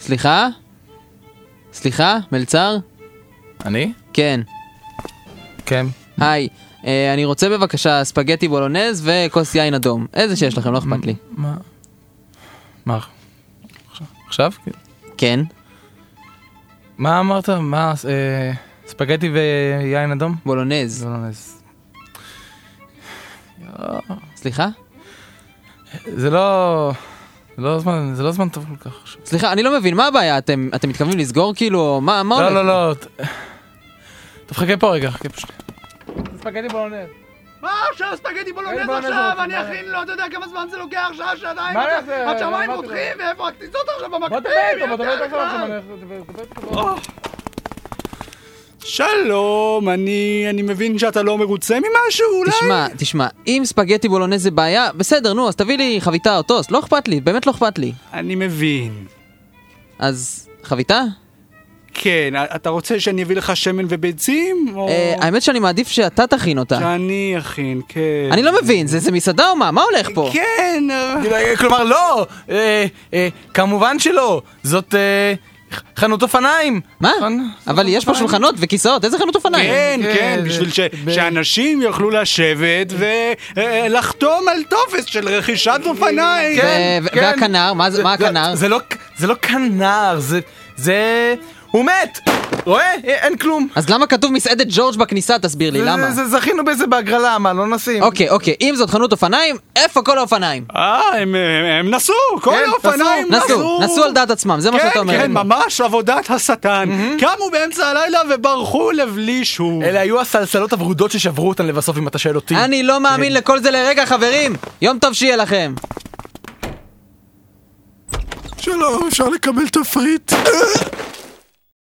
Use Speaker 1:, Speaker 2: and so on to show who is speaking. Speaker 1: סליחה? סליחה? מלצר?
Speaker 2: אני?
Speaker 1: כן.
Speaker 2: כן.
Speaker 1: היי, אה, אני רוצה בבקשה ספגטי בולונז וכוס יין אדום. איזה שיש לכם, לא
Speaker 2: Mm.
Speaker 1: אכפת לי.
Speaker 2: מה? מה? עכשיו- עכשיו?
Speaker 1: כן?
Speaker 2: מה אמרת? מה? אה, ספגטי ויין אדום?
Speaker 1: בולונז.
Speaker 2: זה לא נס. לא.
Speaker 1: סליחה?
Speaker 2: זה לא... זה לא זמן, זה לא זמן טוב כל כך. עכשיו.
Speaker 1: סליחה, אני לא מבין, מה הבעיה? אתם אתם מתכוונים לסגור כאילו? או מה מה
Speaker 2: לא,
Speaker 1: הולך?
Speaker 2: לא, לא. ת- טוב, חכה פה רגע, חכה פה שנייה. ספגטי בולונז.
Speaker 3: מה עכשיו ספגטי בולונז
Speaker 2: אין בולונז
Speaker 3: עכשיו?
Speaker 2: בולונז,
Speaker 3: אני
Speaker 2: מה?
Speaker 3: אכין לו, אתה יודע כמה זמן זה לוקח? שעה, שעתיים?
Speaker 2: מה
Speaker 3: עד-
Speaker 2: נעשה?
Speaker 3: עד שהמים
Speaker 2: אמרתי לו.
Speaker 3: פותחים, ואיפה הכניסות עכשיו במקפיא?
Speaker 2: לא
Speaker 4: שלום, אני, אני מבין שאתה לא מרוצה ממשהו, אולי?
Speaker 1: תשמע, תשמע, אם ספגטי בולונז זה בעיה, בסדר, נו, אז תביא לי חביתה או טוסט, לא אכפת לי, באמת לא אכפת לי.
Speaker 4: אני מבין.
Speaker 1: אז חביתה?
Speaker 4: כן, אתה רוצה שאני אביא לך שמן וביצים? או...
Speaker 1: אה, האמת שאני מעדיף שאתה תכין אותה.
Speaker 4: שאני אכין, כן.
Speaker 1: אני לא מבין, זה זה מסעדה או מה? מה הולך פה?
Speaker 4: כן, אה,
Speaker 2: כלומר, לא! אה, אה, כמובן שלא! זאת אה, ח- חנות אופניים!
Speaker 1: מה?
Speaker 2: נכון?
Speaker 1: אבל יש פה שולחנות וכיסאות, איזה חנות אופניים?
Speaker 4: כן,
Speaker 2: כן,
Speaker 4: כן,
Speaker 2: זה-
Speaker 4: בשביל ש-
Speaker 2: ב-
Speaker 4: שאנשים יוכלו לשבת ולחתום על טופס של רכישת אופניים.
Speaker 1: ו- והכנר, מה זה-
Speaker 2: כן, זה-
Speaker 1: מה
Speaker 2: זה-
Speaker 1: הכנר?
Speaker 2: זה לא- זה לא כנר, זה... זה... הוא מת! רואה? אה, אין כלום.
Speaker 1: אז למה כתוב מסעדת ג'ורג' בכניסה? תסביר לי,
Speaker 2: זה-
Speaker 1: למה?
Speaker 2: זה- זה- זכינו בזה בהגרלה, מה, לא נשים?
Speaker 1: אוקיי, אוקיי, אם זאת חנות אופניים, איפה כל האופניים?
Speaker 4: אה, הם- הם הם נסעו, כל
Speaker 2: כן,
Speaker 4: האופניים
Speaker 2: נסעו,
Speaker 4: נסעו.
Speaker 1: נסו, נסו על דעת עצמם, זה מה
Speaker 4: כן,
Speaker 1: שאתה אומר.
Speaker 4: כן, ממש עבודת השטן. קמו באמצע הלילה וברחו לבלי שוב.
Speaker 2: אלה היו הסלסלות הוורודות ששברו אותן לבסוף, אם אתה שואל אותי.
Speaker 1: אני לא מאמין לכל זה לרגע, חברים! יום טוב שיהיה לכם!
Speaker 4: שלום, אפשר לקבל תפריט?